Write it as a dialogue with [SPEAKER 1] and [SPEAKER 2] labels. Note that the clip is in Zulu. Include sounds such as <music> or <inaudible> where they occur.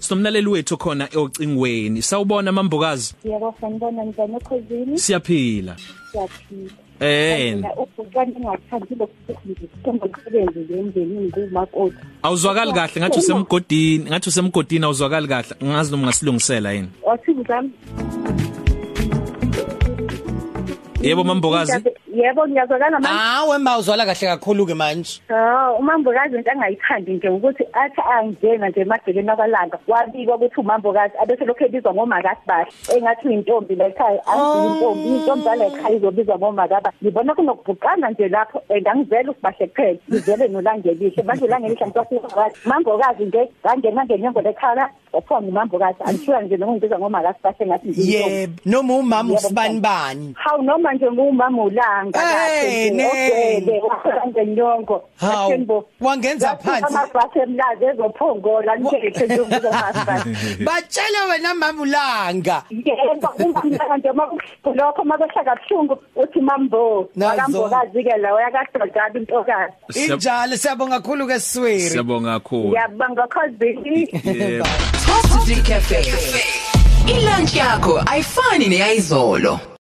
[SPEAKER 1] Sinomlaleli wethu khona ocingweni. Sawubona mambokazi.
[SPEAKER 2] Yebo sanibona njani ekhosini?
[SPEAKER 1] Siyaphila.
[SPEAKER 2] Siyaphila.
[SPEAKER 1] Eh,
[SPEAKER 2] Mina ubhuqane engathandi lokusebenza umsebenzi nje emndenini kumakoti.
[SPEAKER 1] awuzwakali kahle ngathi usemgodini, ngathi usemgodini awuzwakali kahle. Ngazi noma ngasilungisela yini.
[SPEAKER 2] Wathi ngizami.
[SPEAKER 1] Yebo mambokazi.
[SPEAKER 2] Yebo ngiyazwakala manje.
[SPEAKER 3] Hawe mawuzwala kahle kakhulu ke manje.
[SPEAKER 2] Ah, umambokazi into angayithandi nje ukuthi athi angena nje emagcekeni abalanga wabikwa ukuthi umambokazi abese lokho ebizwa ngomakasibahla engathi uyintombi lekhaya
[SPEAKER 3] Oh.
[SPEAKER 2] angiyi intombi intombi yalekhaya izobizwa ngomakaba ngibona kunokubhuqana nje lapho and angizele ukubahle kuphela ngizele nolangelihle manje langelihle ngisafikazi mambokazi nje ngangena ngenyongo lekhaya waphiwa ngumambokazi angishiwa nje noma ngibizwa ngomakasibahla engathi ngiyi intombi
[SPEAKER 3] Yebo, noma umama usibani bani.
[SPEAKER 2] hawu noma nje ngumama ulanga
[SPEAKER 3] Hey, ne.
[SPEAKER 2] ogwele wasanje nyongo
[SPEAKER 3] Hawu,
[SPEAKER 2] Athembo,
[SPEAKER 3] wangenza
[SPEAKER 2] yathi
[SPEAKER 3] phansi.
[SPEAKER 2] amabhasi emlazi ezophongola nithethe
[SPEAKER 3] <laughs>
[SPEAKER 2] njengomabhasi
[SPEAKER 3] Batshela wena mama ulanga.
[SPEAKER 2] yebo ungumntana nje uma kuhlupho lokho uma kwehla kabuhlungu uthi mambo
[SPEAKER 3] Nazo.
[SPEAKER 2] akambokazi-ke lawo yakadodabi intokazi
[SPEAKER 1] Siya-
[SPEAKER 3] Injalo siyabonga kakhulu ke Siswiri.
[SPEAKER 1] Siyabonga kakhulu.
[SPEAKER 2] ngiyabanga khozini
[SPEAKER 1] Yebo.
[SPEAKER 4] Top City Cafe. Ilunch yakho ayifani neyizolo.